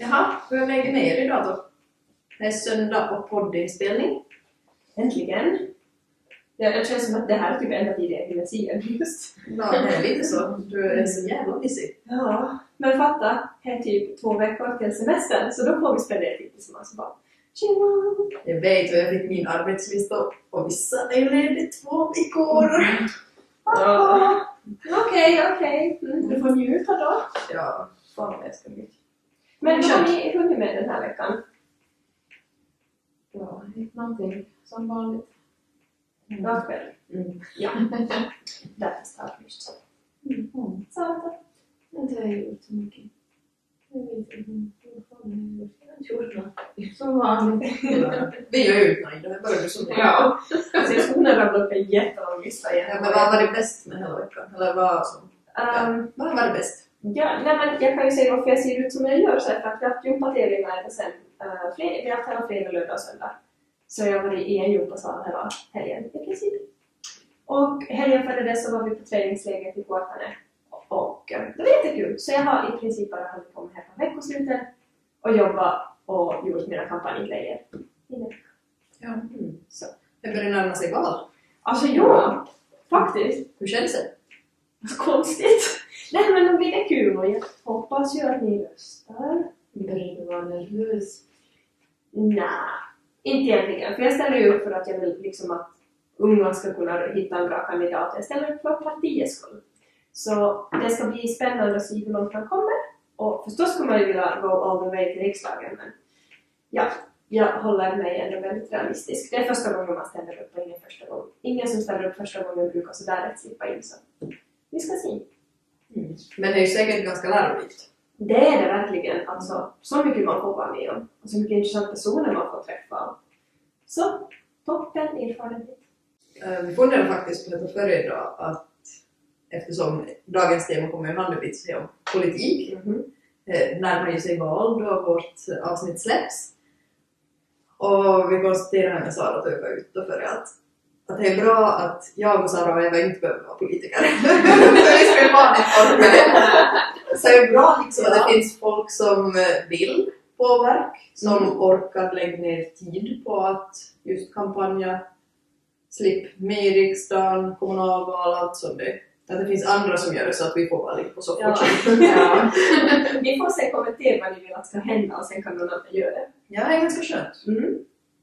Jaha, får jag lägger ner idag då? Det är söndag och poddinspelning. Äntligen! Ja, jag känner som att det här är typ enda tiden jag hinner se den just. Ja, det är lite så. Du är så jävla busy. Ja, men fatta, det är typ två veckor till semestern så då får vi spendera tid tillsammans och bara chilla. Jag vet och jag fick min arbetslista och vissa är ju ledigt två veckor. Ja. Okej, okej. Mm, Du får njuta då. Ja, fan vad jag ska mycket. Men vad har ni hunnit med den här veckan? Ja, någonting som vanligt. Jag har själv. Mm. Ja. Därför startar vi så. Mm. Sara. Inte har jag gjort så mycket. Jag vet inte. Vad fan har jag gjort? Jag har inte gjort något. Som vanligt. Vi är ju utnöjda, det börjar du som det. Ja. Precis, hon har rabblat upp en jättelång lista igen. Ja, men vad var det bäst med hela veckan? Eller vad som... Ehm, Vad var det bäst? Ja, nej, men jag kan ju säga varför jag ser ut som jag gör. Så här, för att vi har haft gympaträningar sen uh, fred, vi har haft hela fredag, lördag och söndag. Så jag var i en gympasal hela helgen i princip. Och helgen före det så var vi på träningsläger i Guatane. Och eh, det var jättekul. Så jag har i princip bara hållit på med här på veckoslutet och jobbat och gjort mina kampanjgrejer. Ja. Mm. Så. Det börjar närma sig val. Alltså ja, faktiskt. Hur känns det? Så konstigt. Nej men det blir kul och jag hoppas ju att ni röstar. Börjar du vara nervös? Nej, inte egentligen. För jag ställer ju upp för att jag vill liksom att unga ska kunna hitta en bra kandidat. Jag ställer upp för partiets skull. Så det ska bli spännande att se hur långt man kommer. Och förstås kommer man ju vilja gå all the way till riksdagen, men ja, jag håller mig ändå väldigt realistisk. Det är första gången man ställer upp och ingen första gången. Ingen som ställer upp första gången brukar sådär att slippa in, så vi ska se. Mm. Men det är ju säkert ganska lärorikt. Det är det verkligen. Alltså, så mycket man får vara med om och så mycket intressanta personer man får träffa. Så, toppen erfarenhet. Eh, Vi funderade faktiskt på detta förr idag att eftersom dagens tema kommer ju handla lite sig om politik eh, närmar ju sig val då vårt avsnitt släpps. Och vi konstaterade med Sara att vi var ute för att, att det är bra att jag och Sara och Eva inte behöver vara politiker. För vi ska ju vara lite formella. Så det är bra liksom att det finns folk som eh, vill påverka, som orkar lägga ner tid på att just kampanja, slipp med i riksdagen, kommunalval, allt sånt det. Att det finns andra som gör det så att vi får vara lite på soffan. Ja. ni får sen kommentera vad ni vill att ska hända och sen kan någon annan göra det. Ja, det är ganska skönt.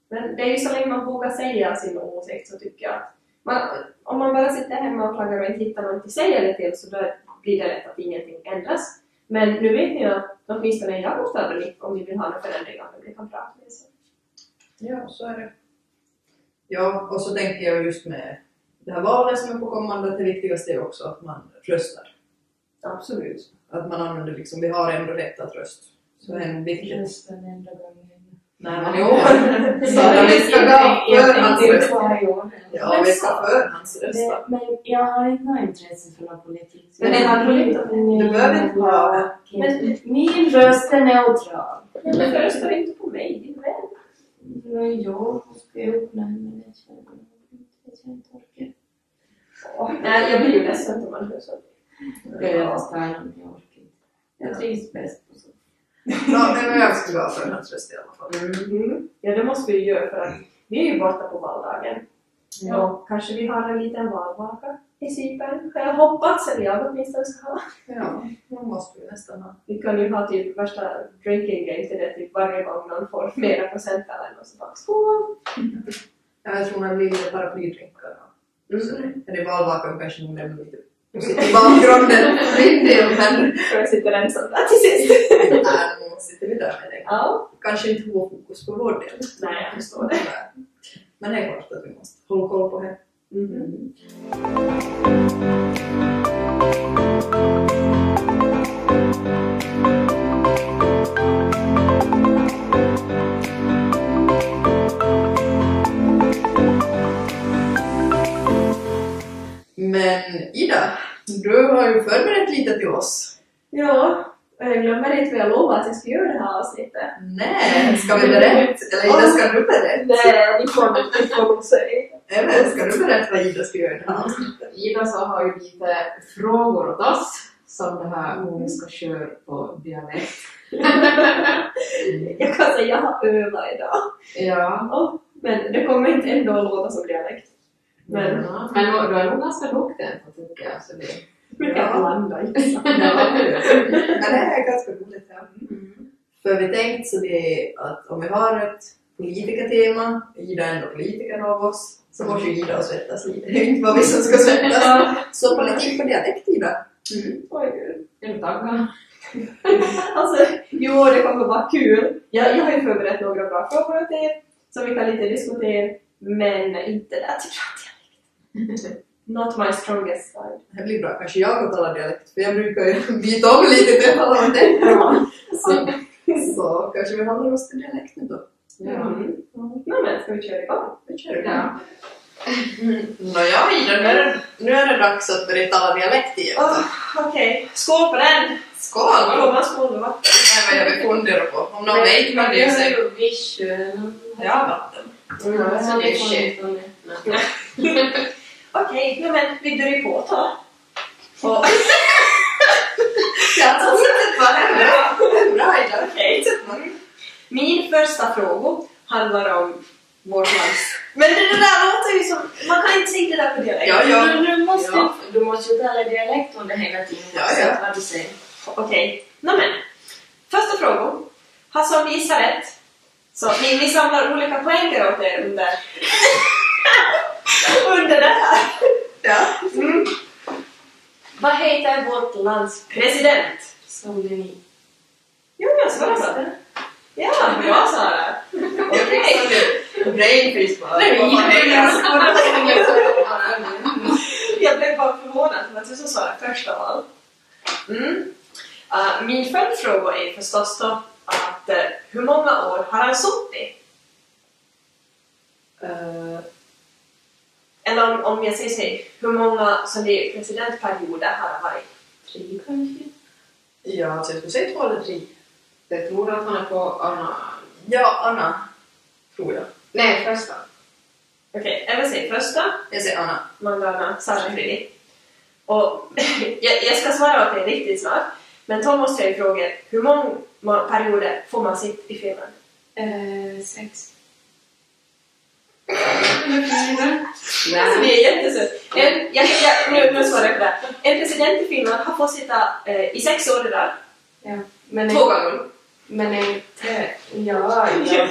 Men det är ju så länge man vågar säga sin åsikt så tycker jag att man, om man bara sitter hemma och klagar och inte hittar någon att säga det till så då blir det lätt att ingenting ändras. Men nu vet ni ju att åtminstone jag har förberett om ni vill ha några förändringar men vi kan prata med så. Ja, så är det. Ja, och så tänker jag just med det här valet som är på kommande, att det viktigaste är också att man röstar. Absolut. Att man använder liksom, vi har ändå rätt att rösta. Så det är en viktig... Rösta den enda gången. Nej, men i år! Så att vi ska gå förhandsrösta. Ja, vi ska förhandsrösta. Men jag har inga intressen för någon politik. Men det hade du inte. Du behöver inte ha det. Men min röst är neutral. Men varför röstar du inte på mig, din vän? Men jag måste ju öppna henne. Jag känner inte att jag inte orkar. Nej, jag blir ju ledsen när man hör sånt. Jag är stjärnan, jag orkar inte. Jag trivs bäst på så. Ja, men jag ska gå förhandsrösta i alla fall. Mm. Ja, det måste vi ju göra för att vi är ju borta på valdagen. Och kanske vi har en liten valvaka i Cypern. Har jag hoppats, eller jag åtminstone ska ha. Ja, man måste ju nästan ha. Vi kan ju ha typ värsta drinking game till det typ varje gång någon får flera procent eller något sånt. Skål! Ja, Jag tror man vill paraplydrinkar. Så det är valvakan kanske nog lämnar lite i bakgrunden för min del, men Så jag sitter ensam där till sist. Nej, nu sitter vi där med det. Ja. Kanske inte har fokus på vår del. Nej, jag förstår det. Nej. Men det är klart att vi måste hålla koll på det. Mm. Men Ida, du har ju förberett lite till oss. Ja, och jag glömmer inte vad jag lovade att jag skulle göra det här avsnittet. Nej, ska vi berätta? Eller Ida, ska du berätta? Nej, vi får, vi får se. Eller ska du berätta vad Ida ska göra i det här avsnittet? Ida så har ju lite frågor åt oss som det här hon ska köra på dialekt. Jag kan säga jag har övat idag. Ja. Men det kommer inte ändå att låta som dialekt. Men- Ja. Men då är hon ganska duktig ändå, tycker jag. Så det... Men Ja. jag landar inte. Ja. Men det här är ganska roligt. Ja. Mm. För vi tänkte så det att om vi har ett politikertema, Ida är ändå politiker av oss, så måste ju Ida och svettas lite. Det är ju inte vad vi som ska svettas. Så politik på dialekt Ida. Oj, gud. Är du taggad? Alltså, jo, det kommer vara kul. Jag, jag har ju förberett några bra frågor åt er som vi kan lite diskutera, men inte det till dialekt. Not my strongest side. Det här blir bra. Kanske jag kan tala dialekt, för jag brukar ju byta om lite till att tala med dig. Så, så kanske vi håller oss till dialekt nu då. Ja. Mm. Nej, men ska vi köra igång? Vi kör igång. ja. Nåja Ida, nu är, det, nu är det dags att börja tala dialekt igen. Åh, Okej, skål på den! Skål! Skål, man skål med vatten. Det är vad jag vill fundera på. Om någon vet kan det ju säga. ju vision. Ja, vatten. Ja, så det är shit. Okej, nej men vi drar på då. Och- Ja, så sättet var det bra. Bra Ida. Okej. Min första fråga handlar om vårt lands... Men det det där låter ju som... Man kan inte säga det där på dialekt. Ja, ja. Men Du måste, Ja. du måste ju tala dialekt under hela tiden Ja, oavsett ja. vad du säger. Okej, okay. men. Första frågan. Har som visar rätt. Så ni, ni samlar olika poänger åt er under, under det här. Mm. Ja. Vad heter vårt lands President. som ni? Jo, jag svarar så. Ja, bra Sara. Okej. Brainfish bara. Nej, Vad fan är det? Jag blev bara förvånad för att du som svarade först av allt. Mm. Uh, min följdfråga är förstås då att eh, hur många år har han suttit? Eh, Eller om, om jag säger så här, hur många som det är presidentperioder har han varit? Tre kanske? Ja, alltså jag skulle säga två eller tre. Jag tror att han är på Anna. Ja, Anna. Tror jag. Nej, första. Okej, jag vill säga första. Jag säger Anna. Mandana Sarafili. Och jag, jag ska svara åt dig riktigt snart, men då måste jag ju fråga hur många ma- perioder får man sitt i Finland? Eh, sex. Alltså det är jättesött. En, jag, jag, nu, nu svarar jag på det. här. En president i Finland har fått sitta eh, i sex år idag. Ja. Men, Två gånger. men inte... Ja, ja.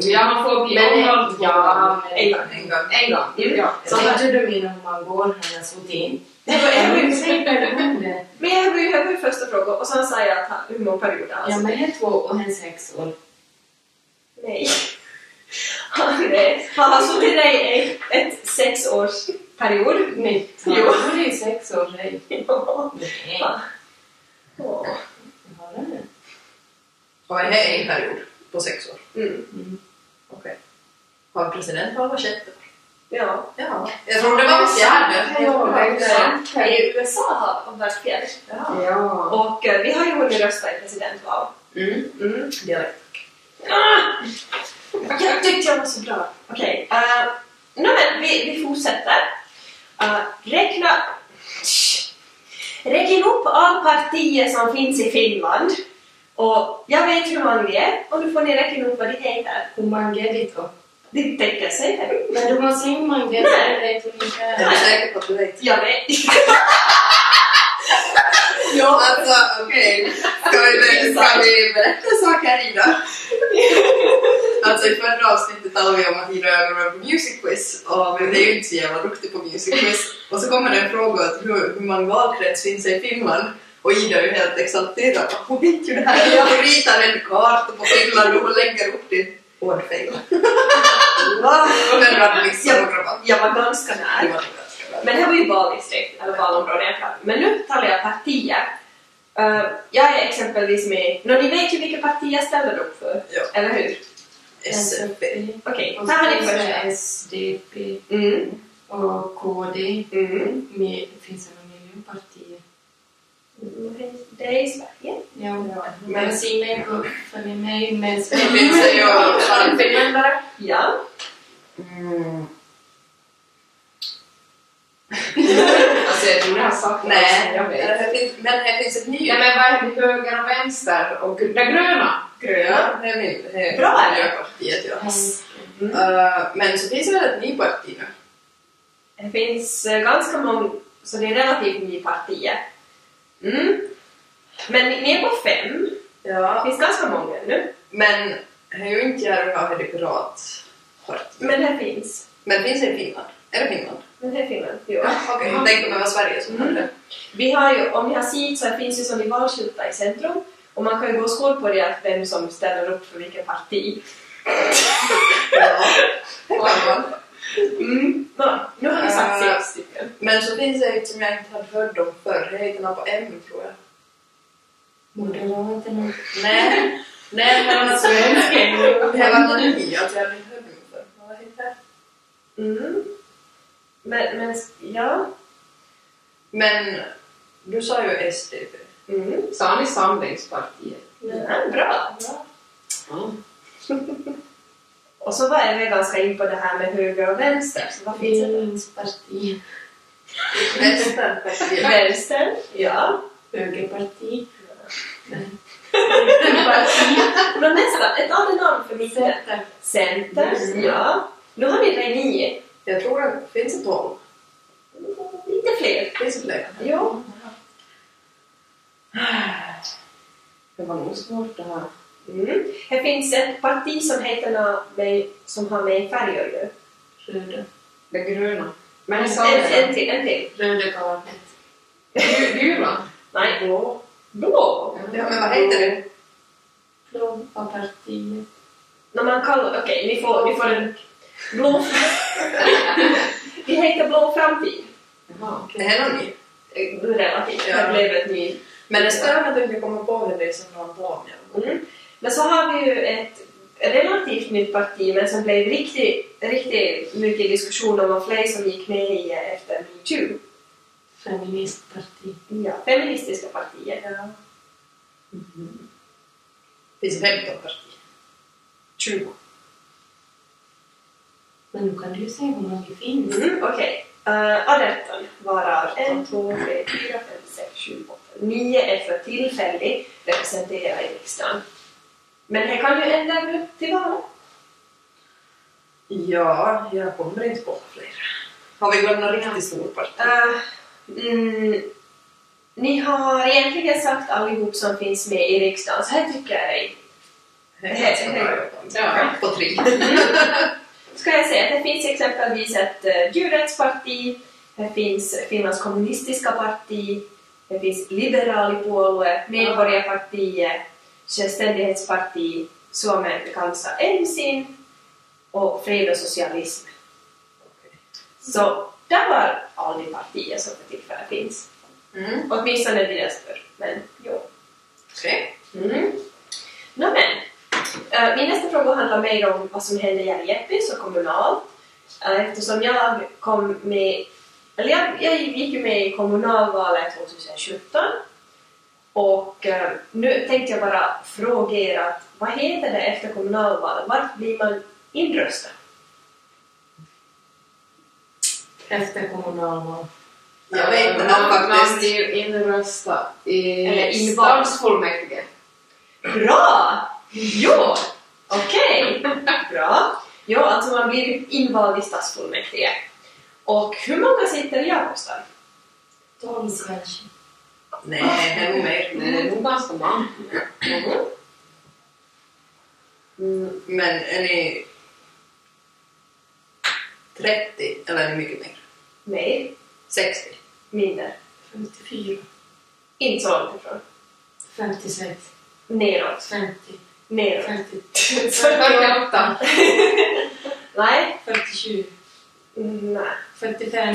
Ja, han får bli Men, omvald två gånger. ja, En men, gång. En gång. En gång. Mm. Ja. så hade du menar om man går här så in? Det var en gång. Säg det. Men jag var ju jag var ju första frågan och sen sa jag att han, hur många perioder han Ja, alltså. men det är två och en sex år. Nej. Han, nej. han har suttit där i ett, ett sexårsperiod. Mitt. Jo. Jo. Det är ju sex år, hej. Ja. Nej. Åh. Har du det? Har jag en period på sex år? Mm. Okej. Har president bara var sjätte? Ja. Ja. Jag trodde det var vad jag hade. I USA har varit fel. Ja. Ja. Och eh, vi har ju hunnit rösta i presidentval. Mm. Mm. Dialekt. Ah! Jag tyckte jag var så bra. Okej. eh, nå men vi, vi fortsätter. Eh, räkna... Räkna upp alla partier som finns i Finland. Och jag vet hur många vi är och nu får ni räkna upp vad de heter. Hur man gör det då? Det tänker jag säga. Men du måste inte man gör det. Jag vet hur ni Jag gör. är säker på att du vet. Jag vet. Ja, alltså okej. Ska vi, ska vi berätta saker Ida? Alltså i förra avsnittet talade vi om att Ida och jag går på music quiz och vi är ju inte så jävla duktiga på music quiz. Och så kommer det en fråga att hur, hur man valkrets finns i Finland och Ida är ju helt exalterad. Hon vet ju det här! Hon ritar en karta på Finland och hon lägger upp det. Ordfel. Men hade liksom några val. Jag var ganska nära. Men det här var ju valdistrikt, eller valområde jag pratar. Men nu talar jag partier. Eh, jag är exempelvis med... Nå, ni vet ju vilka partier jag ställer upp för, Ja. eller hur? Alltså, SFP. Okej, Och så här har ni finns första. det SDP Mm, och KD. mm. Med, finns det några miljöpartier? Det är i Sverige. Ja. Men Men se mig och följ mig med det finns det ju alla finländare. Ja. se, Alltså, jag tror det har sagt något som Nej, jag vet. det finns- men här finns ett Nej nytt. men vad är det, höger och vänster och det gröna? Gröna, det är min. det är Bra, eller? Miljöpartiet, ja. Mm. Eh, men så finns det väl ett nyparti nu? Det finns eh, ganska många, så det är relativt ny partier. Mm. Men ni ni är på fem. Det Ja. finns ganska många nu. Men det är ju inte Järva det piratparti. Men det finns. Men finns det i Finland? Är det Finland? Men det är Finland. Jo. Ja, Okej, Mm. jag tänkte om det var Sverige som hade det. Vi har ju, om ni har sett så här finns ju som i valskyltar i centrum. Och man kan ju gå och skål på det att vem som ställer upp för vilket parti. Ja, det kan man. Mm. Nå, nu har vi sagt Äh. sex stycken. Men så finns det ett som jag inte hade hört om förr. Det heter något på M tror jag. Moderaterna. Nej, nej men alltså det här var något ny. Alltså jag hade inte hört om det förr. Vad heter det? Mm. Men, men ja. Men du sa ju SDP. Mm. Sa ni Samlingspartiet? Ja, bra. Ja. Ja. Och så var vi ganska in på det här med höger och vänster. Så vad finns det? Finlandsparti. Vänsterpartiet. Vänster, ja. Högerparti. Men nästan, ett annat namn för mitten. Center. Center, ja. Nu har ni det nio. Jag tror att det finns ett tolv. Lite fler. Finns det fler? Jo. Det var nog svårt det här. Mm. Det finns ett parti som heter nå- med, som har med färger ju. Röda. Det gröna. Men jag sa En, en det. till, en till. Röda garnet. Gu- Gula? Nej, blå. Blå? Ja, men vad heter det? Blommapartiet. När man kallar, okej, vi får, vi får en blå... vi heter Blå framtid. Jaha. Det här är något nytt. Eh, Relativt, det Ja. blev ett ny Men det stör mig att du inte kommer på hur det är som någon dam. ja. Mm. Men så har vi ju ett relativt nytt parti men som blev riktigt, riktigt mycket diskussion om och fler som gick med i eh, efter metoo. Feministparti. Ja. Feministiska partier. Finns det 15 partier? 20. Men nu kan du ju se hur många det finns. Mm, Okej. Uh, 18 varav 1, 2, 3, 4, 5, 6, 7, 8. 9 är för tillfällig representerade i riksdagen. Men det kan ju ändra upp till valet. Ja, jag kommer inte på fler. Har vi glömt någon riktigt stor parti? Eh, mm, ni har egentligen sagt allihop som finns med i riksdagen, så här tycker jag inte. Det är ganska bra jobbat. Ja. På tre. ska jag säga att det finns exempelvis ett eh, djurrättsparti, det finns Finlands kommunistiska parti, det finns liberaalipuolue, medborgarpartiet, eh, självständighetsparti, Suomen kansa ensin och fred och socialism. Så där var alla de partier som för tillfället finns. Mm. Åtminstone deras förr, men jo. Okej. Mm. Nå men. Eh, Min nästa fråga handlar mer om vad som hände i Järjeppis och kommunalt. Eh, Eftersom jag kom med, eller jag, jag gick ju med i kommunalvalet 2017 och eh, nu tänkte jag bara fråga er att vad heter det efter kommunalvalet? Vart blir man inröstad? Efter kommunalval. Jag vet inte Man- här Man faktiskt. blir inröstad i Eller invald. stadsfullmäktige. Bra! Jo! Okej, bra. Jo, alltså man blir ju invald i stadsfullmäktige. Och hur många sitter i Jakobstad? Tolv kanske. Nej, det är nog mer. Nej, det är nog ganska många. Mm, Men är ni 30 eller är ni mycket mer? nej, 60? mindre. 54. Inte så långt ifrån. 56. Neråt. 50. Neråt. 50. 48. Nej. 47. Nej. 45.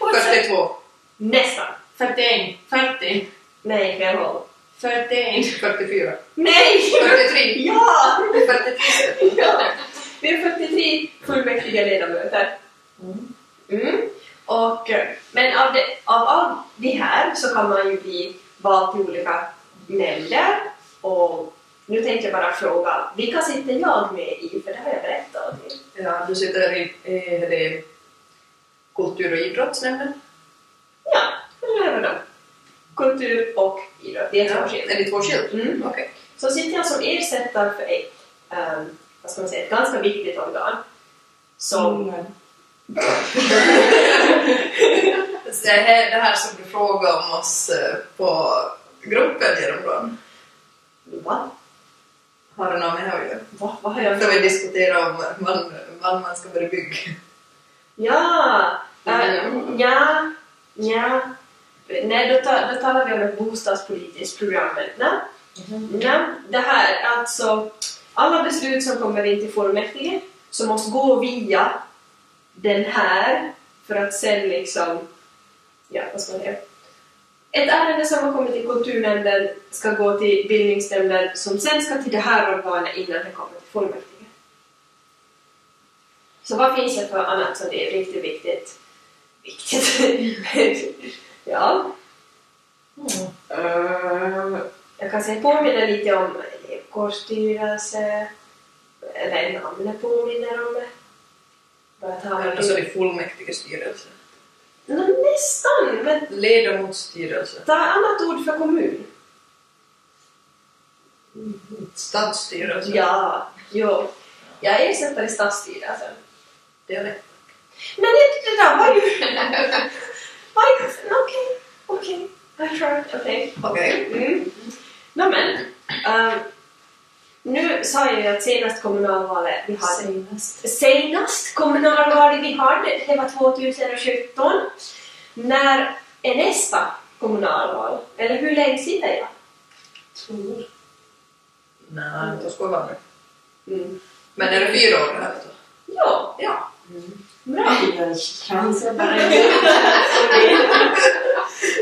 Och sen- 42? Nästan. 41. 40. Nej, fel håll. 41. 44? Nej! 43? Ja! 43? ja! Vi är 43 fullmäktige ledamöter. Mm. Mm. Och, eh, men av, det, av, av det här så kan man ju bli vald till olika nämnder. Och nu tänkte jag bara fråga, vilka sitter jag med i? För det har jag berättat om. eh, Ja, du sitter i, i, i kultur och idrottsnämnden. kultur och idrott. Det är två skillnader. Är det två skilda? Mm. Okej. Så sitter jag som ersättare för ett, ehm, vad ska man säga, ett ganska viktigt organ. Som Det här, det här som du frågade om oss eh, på gruppen häromdagen, Va? har det något med det att göra? Va? Vad har jag Då vi diskuterade om vad man, man ska börja bygga. Ja! Äh, Mm. ja, ja. Nej, då, ta, då talar vi om ett bostadspolitiskt program. men Nej. Nej, det här alltså, alla beslut som kommer in till fullmäktige som måste gå via den här för att sen liksom, ja vad ska man säga? Ett ärende som har kommit till kulturnämnden ska gå till bildningsnämnden som sen ska till det här organet innan det kommer till fullmäktige. Så vad finns det för annat som det är riktigt viktigt? Viktigt? ja, Mm. Eh, jag kan säga påminner lite om elevkårsstyrelse, eller namnet påminner om det. Börjar ta Och så är alltså det fullmäktige styrelse. Nå, nästan, men Ledamotsstyrelse. ta annat ord för kommun. Stadsstyrelse. Ja, jo. Jag ersätter i stadsstyrelsen. Dialekt. Men det, det där var ju... var ju okej, okej. I tried, okej. Okej. Mm. Nå men, eh, nu sa jag ju att senast kommunalvalet vi hade... Senast. Senast kommunalvalet vi hade, det var 2017. När är nästa kommunalval? Eller hur länge sitter jag? Tror. Nej, då ska jag vara med. Mm. Men är det fyra år det här då? Ja, Ja. bra. Chansen bara.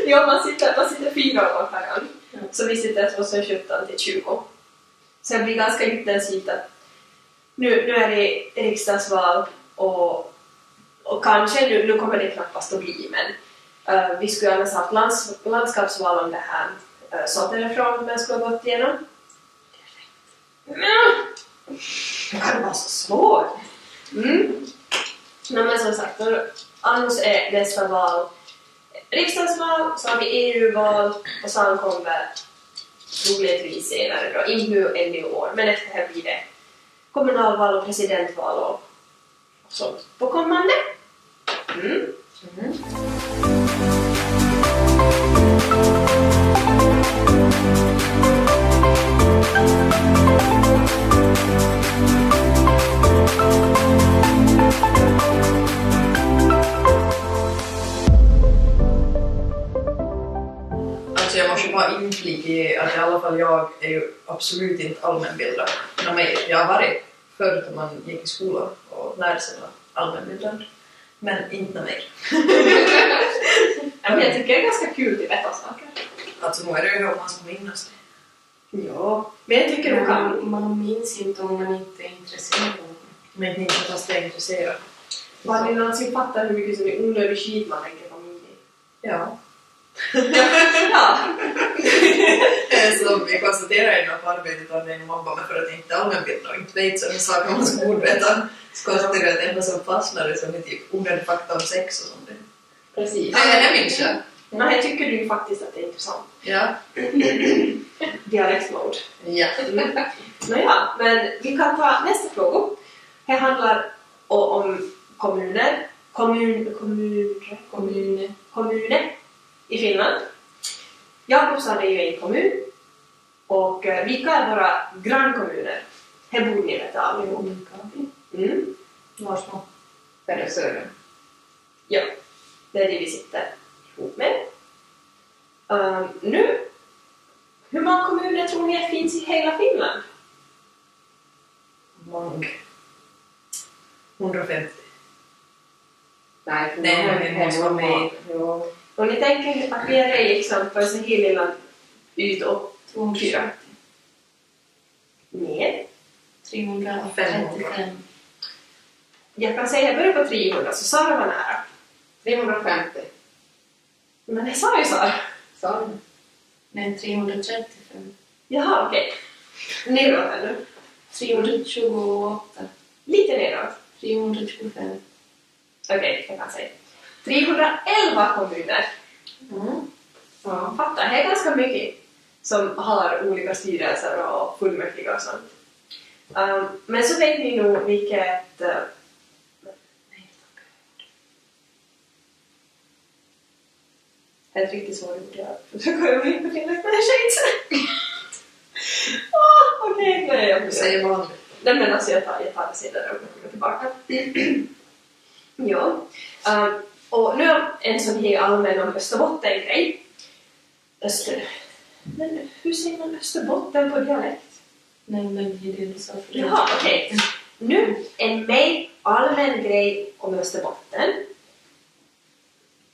ja, man sitter, man sitter fyra år per gång. Ja. Så vi sitter 2017 till 20. Så det blir ganska intensivt att nu, nu är det riksdagsval och, och kanske, nu, nu kommer det knappast att bli, men eh, vi skulle annars haft lands, landskapsval om det här uh, Sotenefrågan skulle ha gått igenom. Men, det kan vara så svårt! Mm. Nej, men som sagt, då- annars är nästa val riksdagsval, så har vi EU-val och sen kommer troligtvis senare då, inte nu ännu i år, men efter det här blir det kommunalval och presidentval och sånt på kommande. Mm. Mm. Alltså jag måste bara inflika i att i alla fall jag är ju absolut inte allmänbildad. Men mig- Jag har varit förut när man gick i skolan och lärde sig vara allmänbildad. Men inte mer. Ja, men jag tycker det är ganska kul att veta saker. Alltså nu är det ju hur man ska minnas det. Ja, men jag tycker du kan. Man, man minns inte om man inte är intresserad av det. Men inte fast jag är intresserad. Mm. Har ni någonsin fattat hur mycket som är onödig skit man lägger på minnet? Ja. Ja, Som vi konstaterar inom arbetet att det är mobbar men för att inte allmänbildad och inte vet sådana saker man ska veta. Så konstaterar jag att det enda som fastnar är som är typ onödig fakta om sex och sånt. där. Precis. Ja, men det minns jag. men jag tycker du faktiskt att det är intressant. Ja. Dialektsmode. Ja. Nåja, men vi kan ta nästa fråga. Det handlar o- om kommuner, kommun, kommuner, Kommuner. kommuner i Finland. Jakobstad är ju en kommun och eh, vilka är våra grannkommuner? Det borde ni veta allihop. Mm. Varså. Färre söder. Ja, det är det vi sitter ihop med. Ehm, nu, hur många kommuner tror ni att finns i hela Finland? Mång. 150. Nej, för Nej, någon vi är måste hemma. med. Ja. Om ni tänker att vi är liksom för sin hela yta 270. ner 335. Jag kan säga, jag började på 300 så Sara var nära. 350. Men jag sa ju Sara. Sa du? Nej, 335. Jaha, okej. Neråt eller? 328. Lite neråt. 325. Okej, jag kan säga. 311 kommuner. Mm. Ja. Fatta, det är ganska mycket som har olika styrelser och fullmäktige och sånt. Ehm, men så vet ni nog vilket... eh, Det är ett riktigt svårt ord. Jag försöker gå in på tillräckligt med shades. Åh, Okej, nu är jag Du på säger vanligt. Nej men alltså jag tar, jag tar det senare om jag kommer tillbaka. ja. Ehm, och nu har en sån här allmän om Österbotten-grej. Öster... Men hur säger man Österbotten på dialekt? Nej, men det är inte så. Jaha, okej. Nu, en mer allmän grej om Österbotten.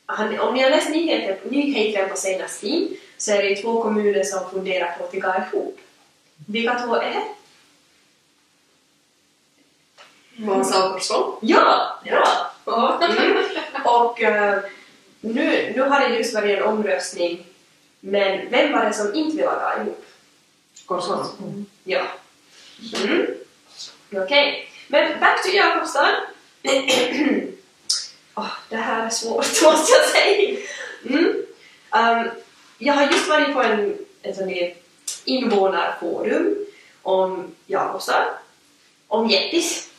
Han, om ni har läst nyheter- nyheterna på senaste tid så är det ju två kommuner som funderar på att gå ihop. Vilka två är det? Vasa och Korsholm. Ja! Bra! Mm. Och eh, nu, nu har det just varit en omröstning, men vem var det som inte ville vara ihop? Korsholm. Ja. Mm. Okej. Men back to Jakobstad. Åh, det här är svårt måste jag säga. Mm. Ehm, jag har just varit på en, en sån där invånarforum om Jakobstad. Om Jettis.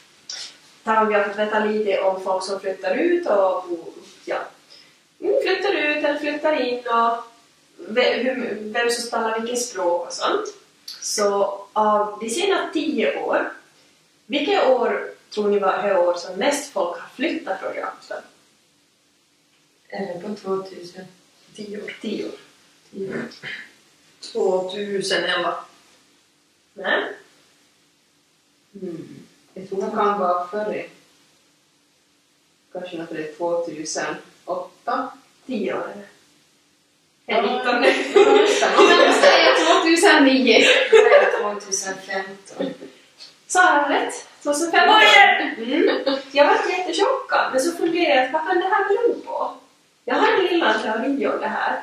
Där har jag fått veta lite om folk som flyttar ut och bo- ja, mm, flyttar ut eller flyttar in och ve- hur- vem som talar vilket språk och sånt. Så av de senaste tio år, vilket år tror ni var det år som mest folk har flyttat från Jakobstad? Är det på 2000? Tio år. Tio år? 2011. Nej? Mm. Jag tror det kan vara förr. Kanske något för det 2008? Tio år eller? Nej, Ja. nitton. Jag säger 2009! Nej, 2015. Så har jag rätt. 2005 var det! Mm. Jag var jättechockad, men så funderade jag, vad kan det här bero på? Jag har en lilla teori om det här.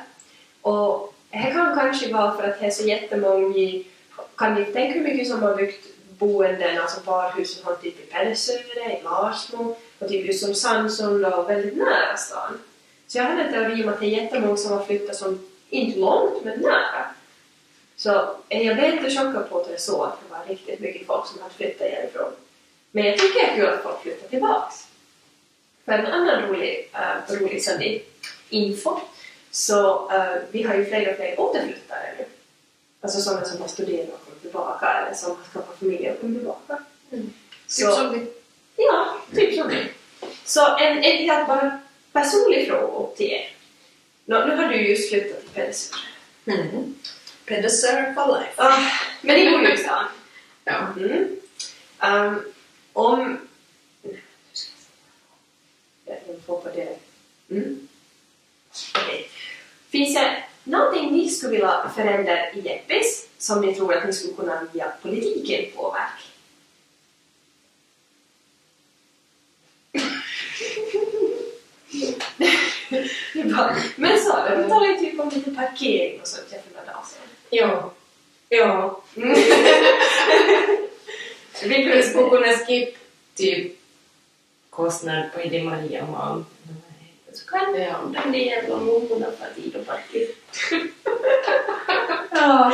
Och det kan kanske vara för att det är så jättemånga, i- kan ni tänka hur mycket som har byggt boenden, alltså parhus och sånt typ i Pärlsöre, i Larsmo och typ just som Sandsund och väldigt nära stan. Så jag hade en teori om att det är jättemånga som har flyttat som, inte långt, men nära. Så eh, jag blev lite chockad på att jag såg att det var riktigt mycket folk som hade flyttat härifrån. Men jag tycker det är kul att folk flyttar tillbaks. För en annan rolig, äh, rolig söndag info så eh, vi har ju fler och fler återflyttare nu. Alltså sådana som har studerat och kommit tillbaka eller som har skapat familj och kommit tillbaka. Typ som vi. Ja, typ som det. Så en, en helt bara personlig fråga till er. Nå, nu har du ju just flyttat till Pedersen. Mm. Pedesser for life. Ah, men i Bollnästan. Ja. liksom- Mm. Ehm, om... Jag får på det. Mm. Okej. Finns det någonting ni skulle vilja förändra i Jeppis som ni tror att ni skulle kunna via politiken påverka? Det är bra. Men så, vi talar ju typ om lite parkering och sånt jag för några dagar sedan. Ja. Ja. Vi Vi skulle kunde kunna skippa typ kostnad på Idi Maria Malm. Så kan vi använda de jävla blommorna för att Ido parkera. Ja.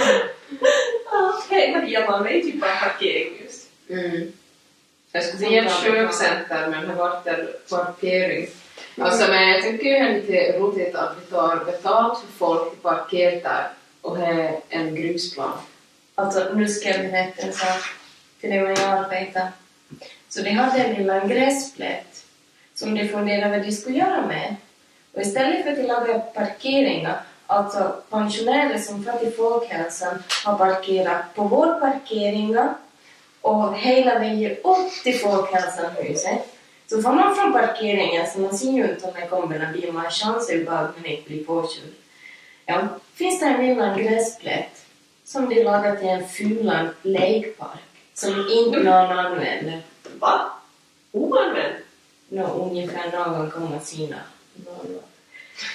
Okej, Maria Malm är ju typ bara parkering just. Mm. Jag skulle säga ett köpcenter men har varit en parkering. Alltså, men jag tycker ju det är lite roligt att vi tar betalt för folk som parkerar där och har en grusplan. Alltså nu ska jag berätta en sak till dig när jag arbetar. Så de hade en liten gräsplätt som de funderade vad de skulle göra med. Och istället för att laga parkeringar, alltså pensionärer som fått i folkhälsan har parkerat på vår parkeringar och hela vägen upp till folkhälsanhuset. Så får man från parkeringen, så man ser ju inte om det kommer några bilar, man har chans överhuvudtaget men inte blir påkörd. Ja, finns det en liten gräsplätt som de lagar till en fulan lekpark som inte någon använder. Va? Oanvänd? Nå, ungefär någon kommer sina. någon.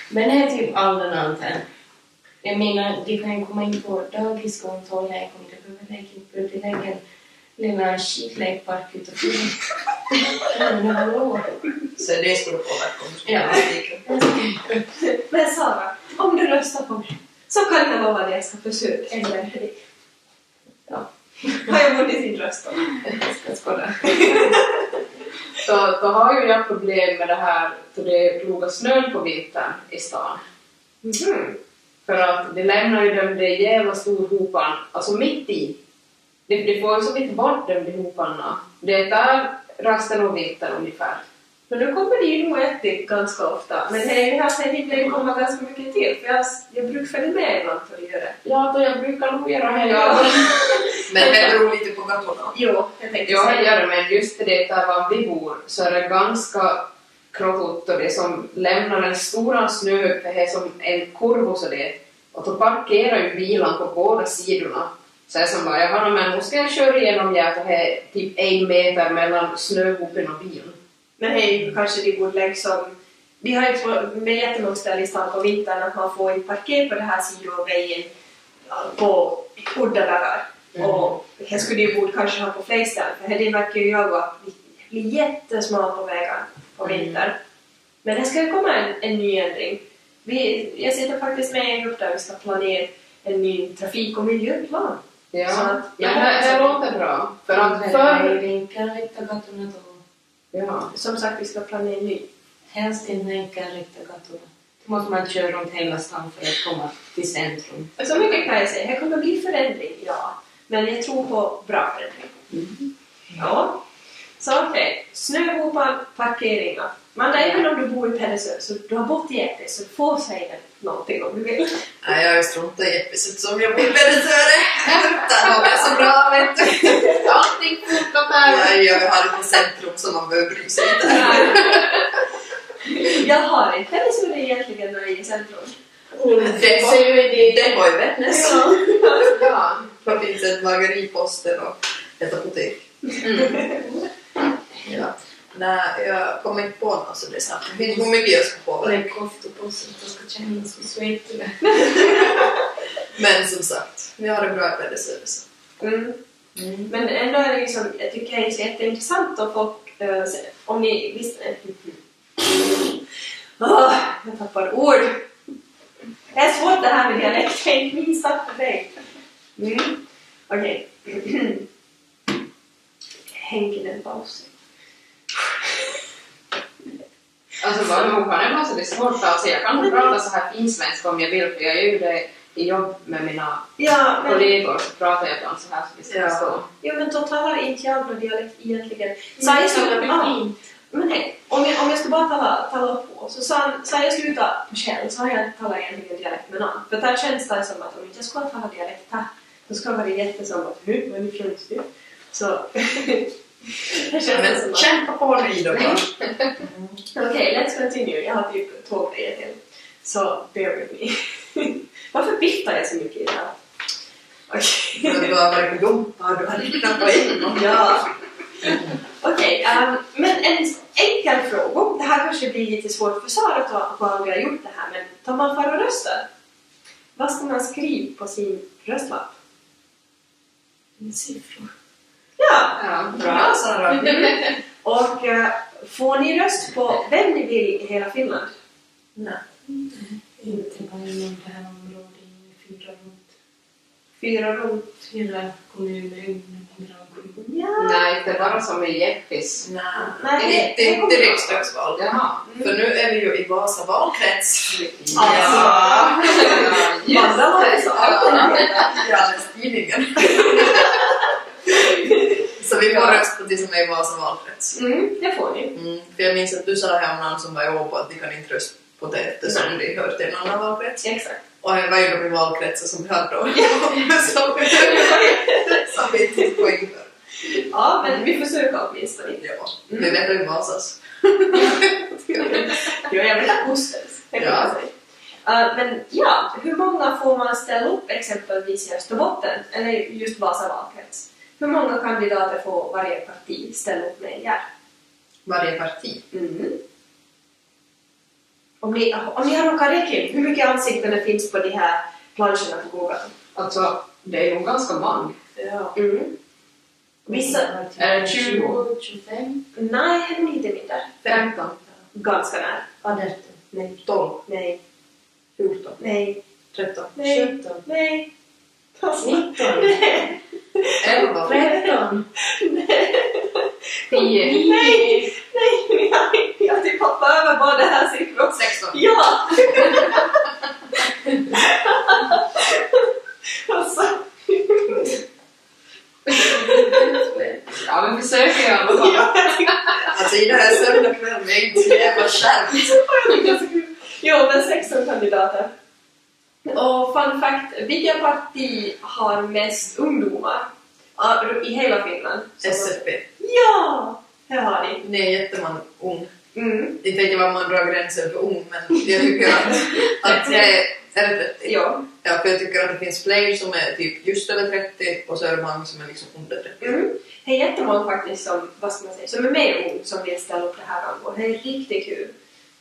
Men det är typ all den anten. Jag menar, de kan ju komma in på dagiskontor, jag kommer inte behöva leka in på lägger lilla skitlekpark utanför. Men hallå. Så det skulle påverka om du skulle Ja. politiken. Men Sara, om du röstar på mig så kan jag lova dig att jag ska försöka ändra dig. Ja. Har jag vunnit din röst då? Jag skojar. så, så har ju jag problem med det här då det plogar snön på vintern i stan. Mhm. För att det lämnar ju dem det jävla stor hopan, alltså mitt i. Det, det får ju som inte bort dem de hoparna. Det tar rasten och vintern ungefär. Men då kommer det ju nog ätit ganska ofta. Men det är ju här sen hinner det komma ganska mycket till. För jag, jag brukar följa med ibland för att göra det. Ja, då jag brukar nog göra det. Ja. Men det beror lite på gatorna. Jo, jag tänkte Ja, säga det gör det, men just det där var vi bor så är det ganska krokigt och det som lämnar en stor snö för det är som en kurva så det och då parkerar ju bilarna på båda sidorna så jag som bara, jaha men nu ska jag köra igenom det här, för det är typ en meter mellan snöhopen och bilen. Men hej, kanske det borde liksom... Vi har ju på- med jättemånga ställen i stan på vintern att man får ju parkera på den här sidan av vägen ja, på udda dagar. Mm. Och här skulle det ju borde kanske ha på fler ställen för här det märker ju jag att vi blir jättesmala på vägen på Mm. vintern. Men det ska ju komma en, en ny ändring. Vi, jag sitter faktiskt med i en grupp där vi ska planera en ny trafik och miljöplan. Ja, Så att- men det, det låter bra. För att förr... Vinkelriktagatorna då. Ja. Som sagt, vi ska planera en ny. Helst inte enkelriktagatorna. Då måste man köra runt hela stan för att komma till centrum. Så mycket kan jag säga. Här kommer bli förändring, ja. Men jag tror på bra förändring. Ja. Så okej. Snöhopar, parkeringar. Men det är väl om du bor i Pedersö, så du har bott i Epe, så du får säga det någonting om du vill. Nej, jag har struntat i episet som jag blir väldigt söre. Där har jag så bra, vet du. Allting funkar där! Jag gör ju här på centrum så man behöver bry sig inte. jag har inte Pedersö det är egentligen när jag är i centrum. Det var- ju det... Det var ju Vätnäs. Ja. Där finns ett bageriposter och ett apotek. Mm. Ja. Nej, jag kommer inte på något så det är sant. Det finns nog mycket jag ska påverka. Lägg koftor på så att det ska kännas som svettiga. Men som sagt, vi har det bra i Pedersöre. så. Mm. Mm. Men ändå är det liksom, jag tycker det är så jätteintressant om folk, eh, se- om ni visste... eh, Åh, jag tappar ord! Det är svårt det här med dialekt, det är minst sagt för dig. Mm. Okej. Henkinen paus. Alltså bara motsvarande alltså det är svårt alltså jag kan nog prata så här finsvenska om jag vill för jag gör ju det i jobb med mina Ja, men, kollegor så pratar jag ibland så här så vi ska Ja. förstå. ja, men då talar inte jag någon dialekt egentligen. Så jag slutade- skulle ah, bli Men hej, om jag, om jag ska bara tala, tala på, så sa sa jag slutade på själv så har jag inte talat egentligen dialekt med någon. För där känns det som att om inte jag skulle tala dialekt här, då skulle det vara jättesom att hur, men hur känns det? Så... det känns som Men att... kämpa på dig då bara. Okej, let's continue. Jag har typ två grejer till. Så bear with me. Varför bittar jag så mycket idag? Okej. För att du har varit på gumpa, du har räknat på en gång. Ja. Okej, ehm, men en enkel fråga. Det här kanske blir lite svårt för Sara att ta- vad vi har gjort det här, men tar man far och röstar, vad ska man skriva på sin röstlapp? fin. Siffror. Ja, Ja, Bra bra. Sara! och eh, får ni röst på vem ni vill i hela Finland? Nej. Inte bara inom det här området, inom fyra runt. Fyra rum. Fyra kommuner inom en grannkommun. Ja. Nej, inte bara som i Jeppis. Nej. Nej, Inte, inte riksdagsval. Jaha. För nu är vi ju i Vasa valkrets. Alltså. Ja, just Mandala är så det. alldeles tidningen. Så vi får rösta på det som är i Vasa valkrets. Mm, det får ni. Mm. För jag minns att du sa det här om någon som var i Åbo att de kan inte rösta på det eftersom de hör till en annan valkrets. Exakt. Och här var ju de i valkretsar som vi hade då. som, som vi tog poäng för. Ja, men vi försöker åtminstone. Ja, vi vet hur Vasas. Jo, jag vill ha ostens. Det kan Ja. man säga. Eh, men ja, hur många får man ställa upp exempelvis i Österbotten eller just Vasa valkrets? Hur många kandidater får varje parti ställa upp med där? Varje parti. Om, ni, om ni har någon räkning, hur mycket ansikten det finns på de här planscherna på Google? Alltså, det är nog ganska många. Ja. Vissa, typ Är det 20? 25? nej, lite mindre. 15. Ganska nära. 18. Nej, Tolv. nej. 14, Nej. 13, Nej. 17, Nej. 19, Nej. 11. 13, 10, Nej. Nej. Jag- Jag typ hoppar över båda här siffror. 16. Ja! alltså, Ja, men försök i alla fall. ja, jag tycker- Alltså i den här söndagskvällen är jag inte så jävla skärpt. jag tycker det är så kul. Jo, men 16 kandidater. Och fun fact, vilket parti har mest ungdomar Ja, i hela Finland? SFP. Ja! Här har ni. Nu är jätteman ung. Mm, Inte vet jag var man drar gränsen för ung men jag tycker att, att jag är... är det- ja. Ja, för jag tycker att det finns fler som är typ just över 30 och så är det många som är liksom under 30. Mm. Det är jättemånga faktiskt som, vad ska man säga, som är med ung som vill ställa upp det här rangordningen. Det är riktigt kul.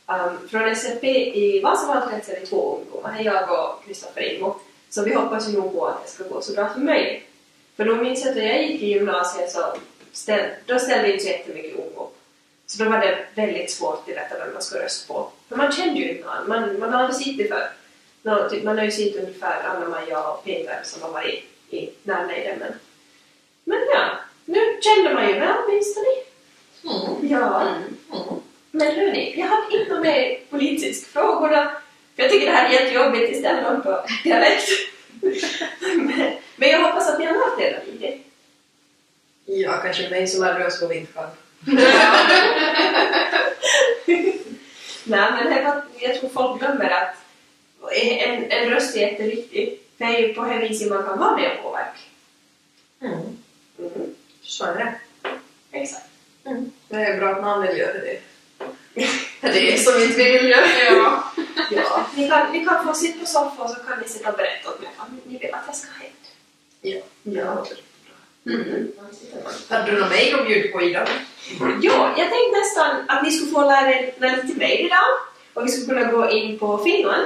Um, från SFP i Vasavalkrets är det två ungdomar, här jag och Kristoffer Ingo. Så vi hoppas ju nog på att det ska gå så bra som möjligt. För då minns jag att när jag gick i gymnasiet så ställ, då ställde inte så jättemycket ung upp. Så då var det väldigt svårt att veta vem man ska rösta på. För man kände ju inte någon, man, man har aldrig sett det förr. Nå, typ, man har ju sett ungefär Anna-Maja och Peter som har varit i, i närheten. Men, men ja, nu känner man ju väl åtminstone. Mm. Ja. Mm. Men hörni, jag har inte med politisk frågorna. För jag tycker det här är jättejobbigt istället på dialekt. men, men jag hoppas att ni har lärt er lite. Ja, kanske mig så lärde jag oss på vindkant. Nej, men det var, jag tror folk glömmer att en, en röst är jätteviktig. För det är ju på det viset man kan vara med och påverka. Mm. Så är det. Exakt. Det är bra att någon annan gör det. Det är som inte vi vill göra. Ja. Ja. Ni, kan, ni kan få sitta på soffan och så kan ni sitta och berätta åt mig vad ni vill att jag ska hända. Ja. ja. Mm. Hade du något mer att bjuda på idag? Jo, jag tänkte nästan att ni skulle få lära er lite mer idag och vi skulle kunna gå in på Finland.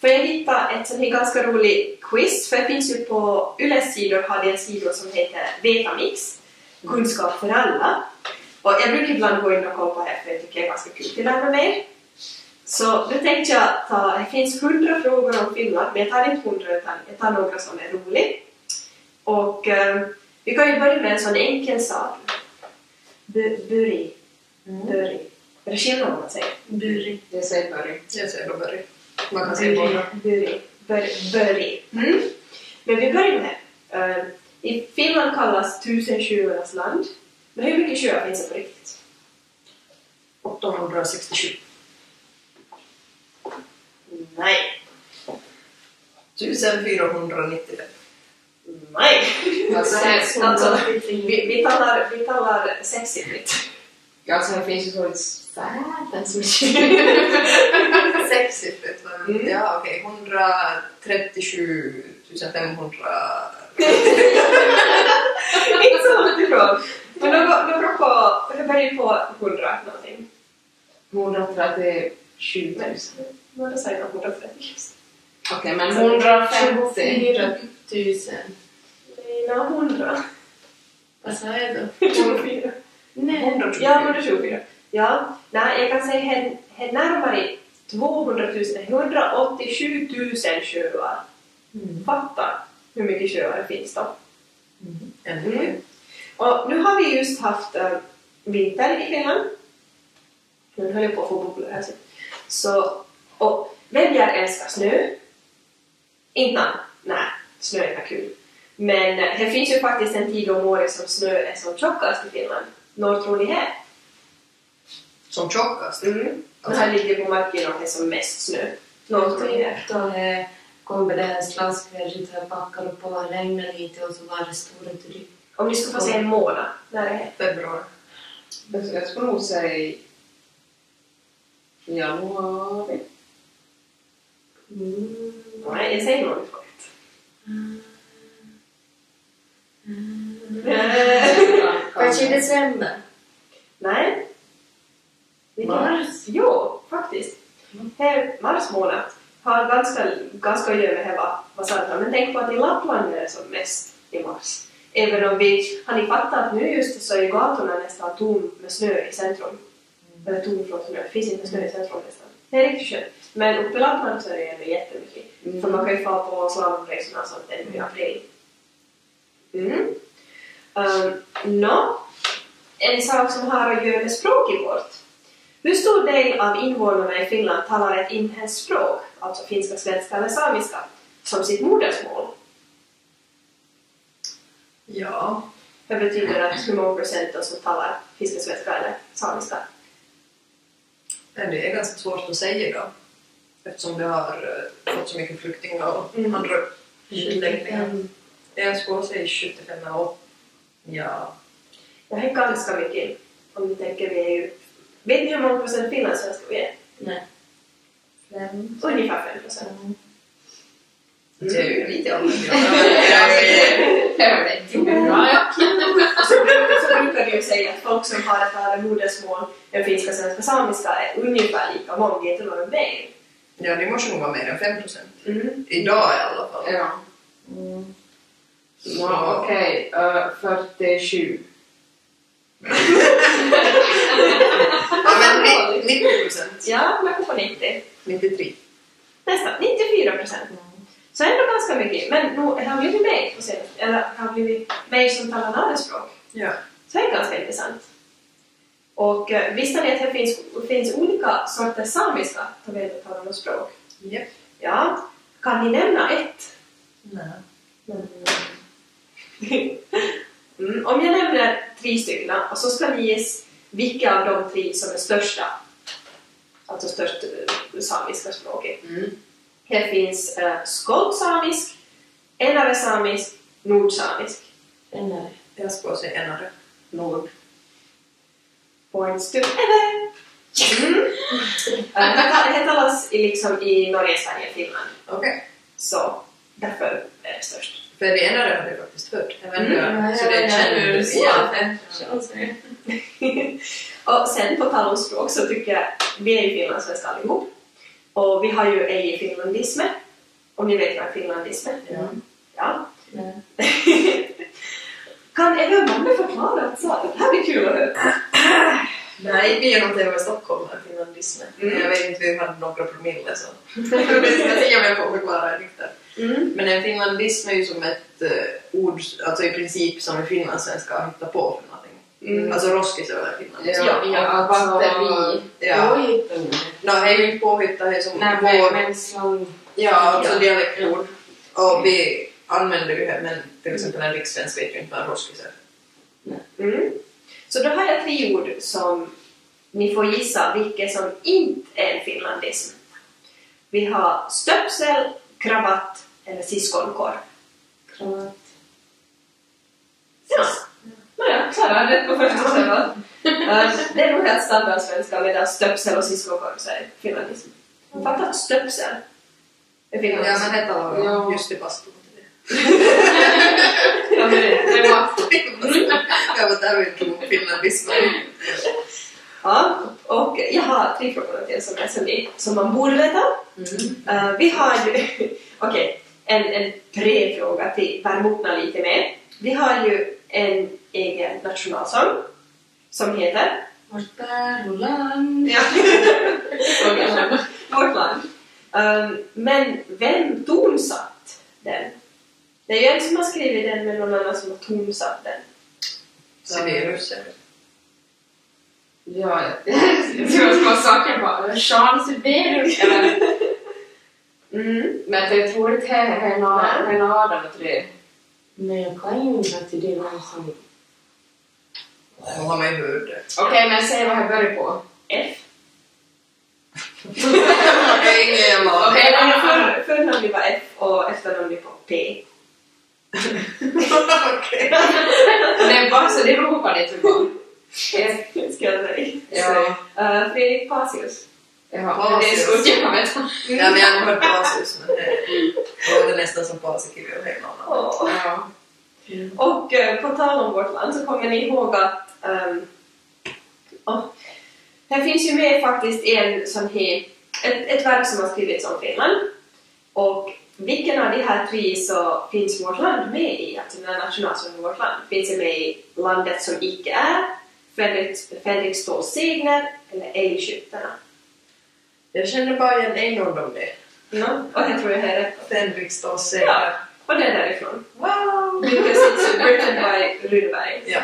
För jag hittade ett sånt här ganska roligt quiz, för det finns ju på Yles sidor har de en sida som heter Vetamix, kunskap för alla. Och jag brukar ibland gå in och kolla på det här för jag tycker det är ganska kul att lära mig mer. Så nu tänkte jag ta, det finns hundra frågor om Finland, men jag tar inte hundra utan jag tar några som är roliga. Och eh, vi kan ju börja med en sån enkel sak. Bu- buri. Buri. Mm. Är det skillnad om man säger? Buri. Det säger Börje. Jag säger då buri. Man kan säga båda. Buri. Buri. Buri. Mm. Men vi börjar med. eh, I Finland kallas tusen sjöarnas land. Men hur mycket sjöar finns det på riktigt? 867. Nej. 1495. Nej. Alltså, Alltså, alltså, vi, vi talar, vi talar sexsiffrigt. alltså, det finns ju sådant världens mycket. Sexsiffrigt var det. Mm. Ja, okej. 137 500. Inte så långt ifrån. Men de går- de går på, det börjar på 100 någonting. 137 000. Men då säger jag 130. Okej, men 150. 000. Nej, några 100. Vad sa jag då? 24. Nej. Ja, 124. Ja, nej, jag kan säga hen, hen närmare 200 000, 187 000 sjöar. Mm. Fatta hur mycket sjöar det finns då. Ännu Mm. mer. Och nu har vi just haft äh, vinter i Finland. Nu höll jag på att få bubblor här. sen. Så, och väljer älskar snö. Inte någon. Nej, snö är inte kul. Men eh, det finns ju faktiskt en tid om året som snö är som tjockast i Finland. När tror ni det? Som tjockast. Mm. Det här ligger på marken och det är som mest snö. Något i det. Då eh, kommer det här slaskvädret här backar på och regnar lite och så var det stora dryck. Om ni skulle få se en månad, när det är. Februari. Jag skulle nog säga januari. Nej, jag säger nog inte faktiskt. Kanske i december. Nej. Vilken Mars. mars? Jo, faktiskt. Här, mars månad har ganska, ganska att göra med hela vasantan. Men tänk på att i Lappland är det som mest i mars. Även om vi... Har ni fattat att nu just så är gatorna nästan tom med snö i centrum? Eller tom från snö. Det finns inte snö i centrum nästan. Det är riktigt skönt. Men uppe i Lappland så är det ändå jättemycket. För man kan ju få på slalomresorna och sånt ännu i april. Mm. Um, Nå, en sak som har att göra med språket vårt. Hur stor del av invånarna i Finland talar ett inhemskt språk, alltså finska, svenska eller samiska, som sitt modersmål? Ja. Det betyder att hur många procent då som talar finska, svenska eller samiska? Men det är ganska svårt att säga då. Eftersom det har eh, fått så mycket flyktingar och Mm. andra utläggningar. Jag skulle säga 75 år. Ja. Det här är ganska mycket. Om du tänker, vi är ju... Vet ni hur många procent finlandssvenskar vi är? Nej. Fem. Ungefär 5 procent. Mm. Det är ju lite annorlunda. Så brukar- Alltså, så brukar vi ju säga att folk som har ett annat modersmål än finska, svenska, samiska är ungefär lika många, det är inte några mer. Ja, det måste nog vara mer än 5 procent. Mm. Idag i alla fall. Ja. Så- Ja, Okej, eh, 47. Ja, men ni- 90 procent. Ja, man kom på 90. 93. Nästan 94 procent. Så ändå ganska mycket. Men nu har det blivit mer på senaste, eller har blivit mer som talar andra språk. Ja. Så det är ganska intressant. Och eh, visste ni att det finns, finns olika sorters samiska som vet att tala språk? Japp. Ja. Kan ni nämna ett? Nej. mm, om jag nämner tre stycken och så ska ni gissa vilka av de tre som är största. Alltså störst eh, samiska språket. Mm. Det finns eh, skottsamisk, enare-samisk, nordsamisk. Enare. Jag skulle säga enare. Nord. Points to enare! Mm. Eh, det tal- Det talas i, liksom, i Norge, Sverige, Finland. Okej. Så därför är det störst. För det enare hade jag faktiskt hört. Även Mm. jag. Så det känner du igen. och sen på tal om språk så tycker jag, vi är ju finlandssvenskar allihop. Och vi har ju ej finlandisme. Om ni vet vad finlandisme är. Ja. Ja. Kan även mamma förklara? Så, det här blir kul att höra. Nej, vi genom TV i Stockholm är finlandisme. Mm. Jag vet inte, vi hade några promille så. Vi ska se om jag får förklara det riktigt. Mm. Men en finlandism är ju som ett eh, ord, alltså i princip som en finlandssvenska har hittat på för någonting. Mm. Alltså roskis är väl finlandism? Ja, ja, batteri. Ja. No, det är ju inte påhittat, det är som Nej, vår- men- men slang. Ja, Mm. alltså dialektord. Och vi använder ju det, men till exempel en rikssvensk vet ju inte vad en roskis är. Mm. Så då har jag tre ord som ni får gissa vilket som inte är en finlandism. Vi har stöpsel, kravatt eller syskonkorv. Kramat. Ja. Nåja, Klara hade rätt på första stället. Eh, det är nog helt standardsvenska medan stöpsel och syskonkorv så är finlandism. Fattar att stöpsel är Mm. Ja, finlandism. men det talar vi Ja. om. Just det, pastor. Ja, men det det är massor. Jag var där och inte tog finlandismen. Ja, och jag har tre frågor till som, är, som, ni, som man borde veta. Mm. Eh, vi har ju... Okej, en, en prefråga till Värmotna lite mer. Vi har ju en egen nationalsång som heter... Vårt pärlland. Ja, Okej. Vårt land. Ehm, men vem tonsatt den? Det är ju en som har skrivit den men någon annan som har tonsatt den. Sibirusser. Ja, jag- jag tror jag ska ha saken bara. Jean Sibelius. eller- Mm. Men det är troligt här är en Adam och tre. Men jag kan ju inte till det var som... Nu har man ju hört det. Okej, men säg vad jag börjar på. F. Det är ingen jävla aning. Okej. Eller för- Förnamnet var F och efternamnet var P. Okej. Men bara så det ropar ni typ bara. Yes. Ska jag säga. Ja. Eh, Fredrik Pasius. Jaha, men det är så jag vet. Ja, men jag har hört basis, men det låter nästan som basikirjo och hela namnet. Åh. Ja. Och eh, på tal om vårt land så kommer ni ihåg att ehm, åh, här finns ju med faktiskt en som he, ett, ett verk som har skrivits om Finland. Och vilken av de här tre så finns vårt land med i? Alltså den här nationalsången i vårt land. Finns det med i Landet som icke är, Fredrik, Fredrik Ståhls segner eller Älgskyttarna? Jag känner bara igen en av dem det. Ja, och det tror jag är rätt. Den riksdagen Ja, säger och det är därifrån. Wow! Vilket sitter written by Rydberg. Ja.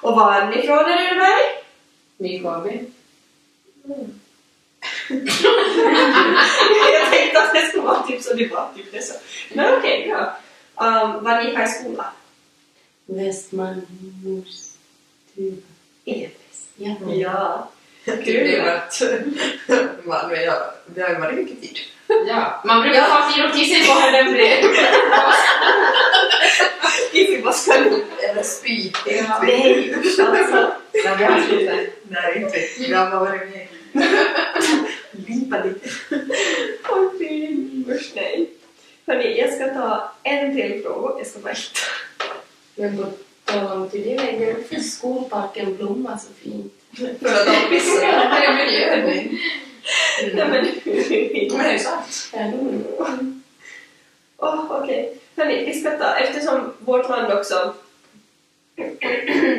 Och var är ni från Rydberg? Nykomling. jag tänkte att det skulle vara typ så, det var typ det så. Men okej, ja. Um, var ni i skola? Västman, Mors, Tuva, Mm. Eves. typ. Ja. Ja. Kul. typ Det är att man, men jag, det har ju varit mycket tid. Ja, man brukar ha tid att kissa på henne bredvid. typ Inte vad ska du? Eller spy. Ja. Nej, usch alltså. Ja, vi har slutat. Nej, inte. Vi har bara varit med. Lipa lite. Åh fy, usch nej. Hörni, jag ska ta en till fråga. Jag ska bara hitta. Men på tal om till det, vägen, varför är skolparken blomma så fint? För att de Det pissar. är miljöövning. Nej men Men det är sant. Ja, nu. Åh, okej. Hörni, vi ska ta, eftersom vårt land också...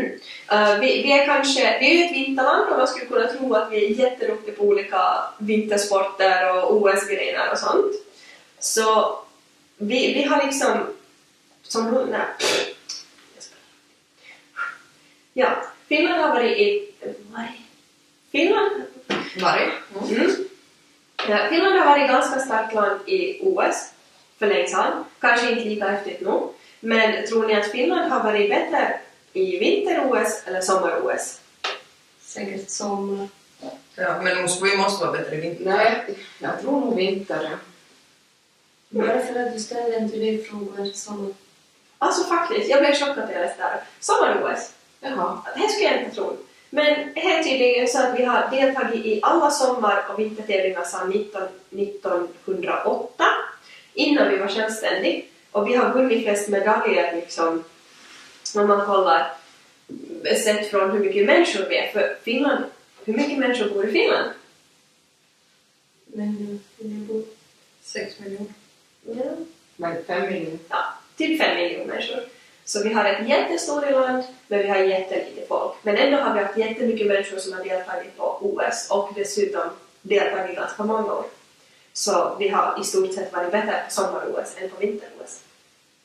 Eh, vi, vi är kanske, vi är ju ett vinterland och man skulle kunna tro att vi är jätteduktiga på olika vintersporter och OS-grenar och sånt. Så vi, vi har liksom... Som hundar... Ja, Finland har varit i... Varit? Finland Varg. Mm. Eh, Finland har varit ganska starkt land i OS för länge sedan. Kanske inte lika häftigt nu. Men tror ni att Finland har varit bättre i vinter-OS eller sommar-OS? Säkert sommar. Ja, men måste- vi måste vara bättre i vinter. Nej, jag tror nog vinter. Bara för att du ställer en till dig frågor som Alltså faktiskt, jag blev chockad när jag läste det här. Sommar-OS, Jaha. det här skulle jag inte tro. Men här är tydligen så att vi har deltagit i alla sommar och vintertävlingar sedan 19, 1908 innan vi var självständiga. Och vi har vunnit flest medaljer liksom om man kollar sett från hur mycket människor vi är. För Finland, hur mycket människor bor i Finland? men jag bor Sex miljoner. Men fem miljoner. Typ fem miljoner människor. Så vi har ett jättestort land, men vi har jättelite folk. Men ändå har vi haft jättemycket människor som har deltagit på OS och dessutom deltagit ganska många år. Så vi har i stort sett varit bättre på sommar-OS än på vinter-OS.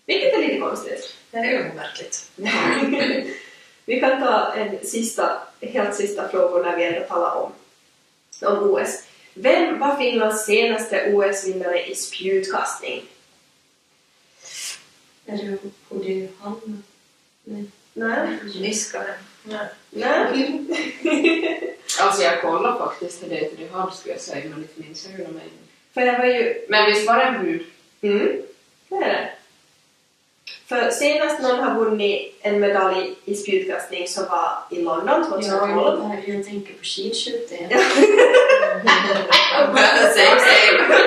Vilket är lite konstigt. Det är ju märkligt. Vi kan ta en sista, helt sista fråga när vi ändå talar om, om OS. Vem var Finlands senaste OS-vinnare i spjutkastning? Är det och det är Hanna? Nej. Nej. Niskaren. Nej. Alltså jag kollade faktiskt till det till det halv skulle jag säga, men inte minns jag hur de är. För det var ju... Men visst var det en brud? Mm, det är det. För senast någon har vunnit en medalj i spjutkastning så var i London Ja, 2012. jag, jag tänker på skidskytte. Same, same.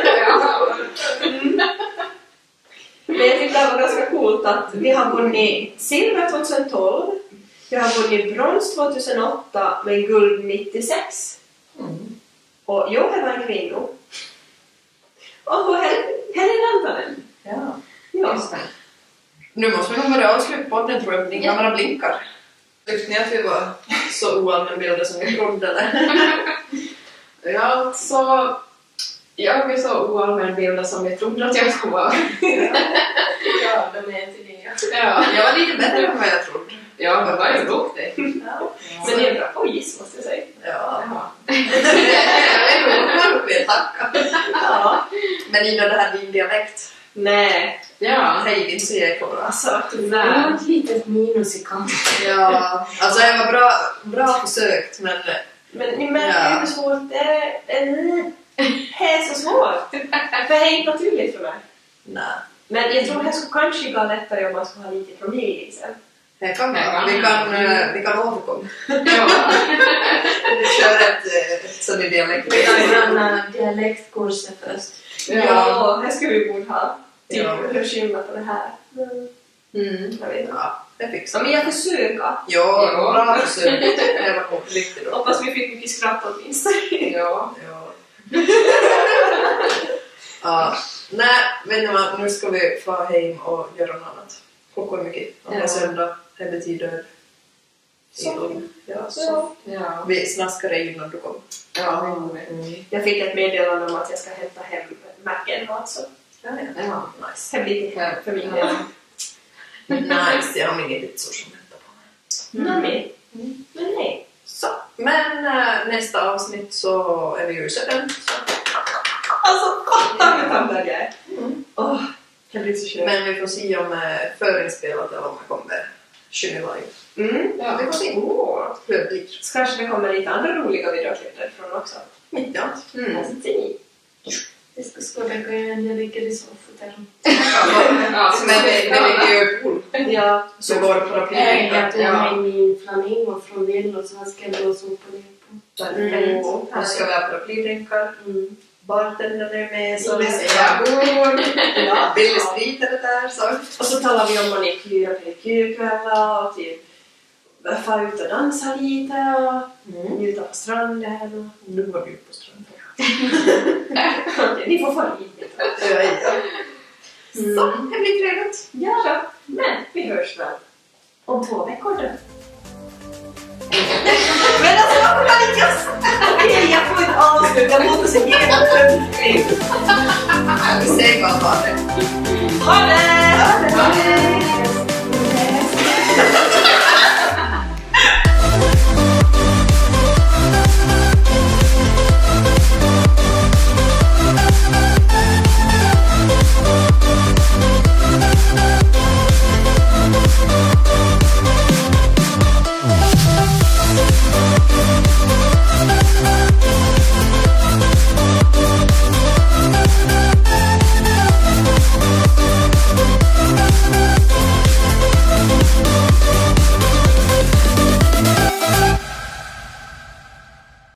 Men jag tyckte det var ganska coolt att vi har vunnit silver 2012, vi har vunnit brons 2008 men guld 96. Mm. Och jag är en kvinna. Och Helen Rantanen. Ja. Ja. Just det. Nu måste vi nog börja avsluta podden tror jag. Din kamera blinkar. Tyckte ni att vi var så oallmänbildade som vi trodde eller? Ja, alltså. Jag är så oallmänbildad som jag trodde att jag skulle vara. Ja, de är till det. Ja, Jag var lite bättre än vad jag trodde. ja men vad är duktig. Men det är bra på giss måste jag säga. Ja. Jaha. Jag vill tacka. Ja. Men Ida, det här är din dialekt. Nej. Ja. Hej, din serie kommer alltså. Jag har Nej. ett litet minus i kanten. Ja, alltså det var bra, bra försökt men eh, Men ni märker ju hur svårt det är. Eh, Det är så svårt. För det är inte naturligt för mig. nej. Men jag tror det skulle kanske gå lättare om man skulle ha lite liksom. promille i sig. Det kan Det vara. kan Vi vara. kan, eh, vi kan återkomma. Ja. Vi kör ett eh, sån där dialekt. Vi kan granna dialektkurser först. Ja. Ja, här skulle vi borde ha. Typ Ja. hur skillnad på det här. Mm. Jag vet inte. Ja, det Ja, fixar vi. men jag försöker. Jo, Ja. bra försök. Det var på riktigt bra. Hoppas vi fick mycket skratt åtminstone. Ja. Ja. ja. Nej, vet ni vad? Nu ska vi få hem och göra något annat. Klockan är mycket. Och det är Ja. söndag. Det betyder Soft. Ja, Så. soft. Ja. Vi snaskade innan du kom. Ja, det gjorde det. Jag fick ett meddelande om att jag ska hämta hem Macen och alltså. Ja, ja. Ja. Nice. Hem dit Ja. Mm. för min del. Ja. Nice, jag har min eget sous som väntar på mig. Nami. Men nej. Så, men eh, nästa avsnitt så är vi ju i Södern. så- Alltså kotta hur tandad jag är! Mm. Åh, jag blir så skön. Men vi får se om eh, förinspelat eller om jag kommer sjunga live. Mm. Ja, vi får se hur det blir. Så kanske det kommer lite andra roliga videoklipp från också. Mitt i allt. Mm. Alltså, se. Det ska skåda kunna jag ligger i soffan. Ja, Alltså, Men det, det ligger ju pool. Ja, Så går paraplyen. jag tog Ja. med min flamingo från Villo så han ska blåsa upp och ner på. Mm. Och Här ska vi ha paraplydrinkar. Mm. Bartendern är med. Så vi Mm. säger god. Ja. Billig sprit är det där. Så. Och så talar vi om manikyr och pedikyrkvällar och typ fara ut och dansa lite och njuta på stranden. Mm. Nu var du på stranden. Och... Ni får fara hit lite. Ja, ja. Så, det blir trevligt. Ja då, men vi hörs väl om två veckor då. Men alltså varför kan inte jag säga? Jag får inte avsluta, jag låter så genomskinlig. Säg bara vad det Ha det! är.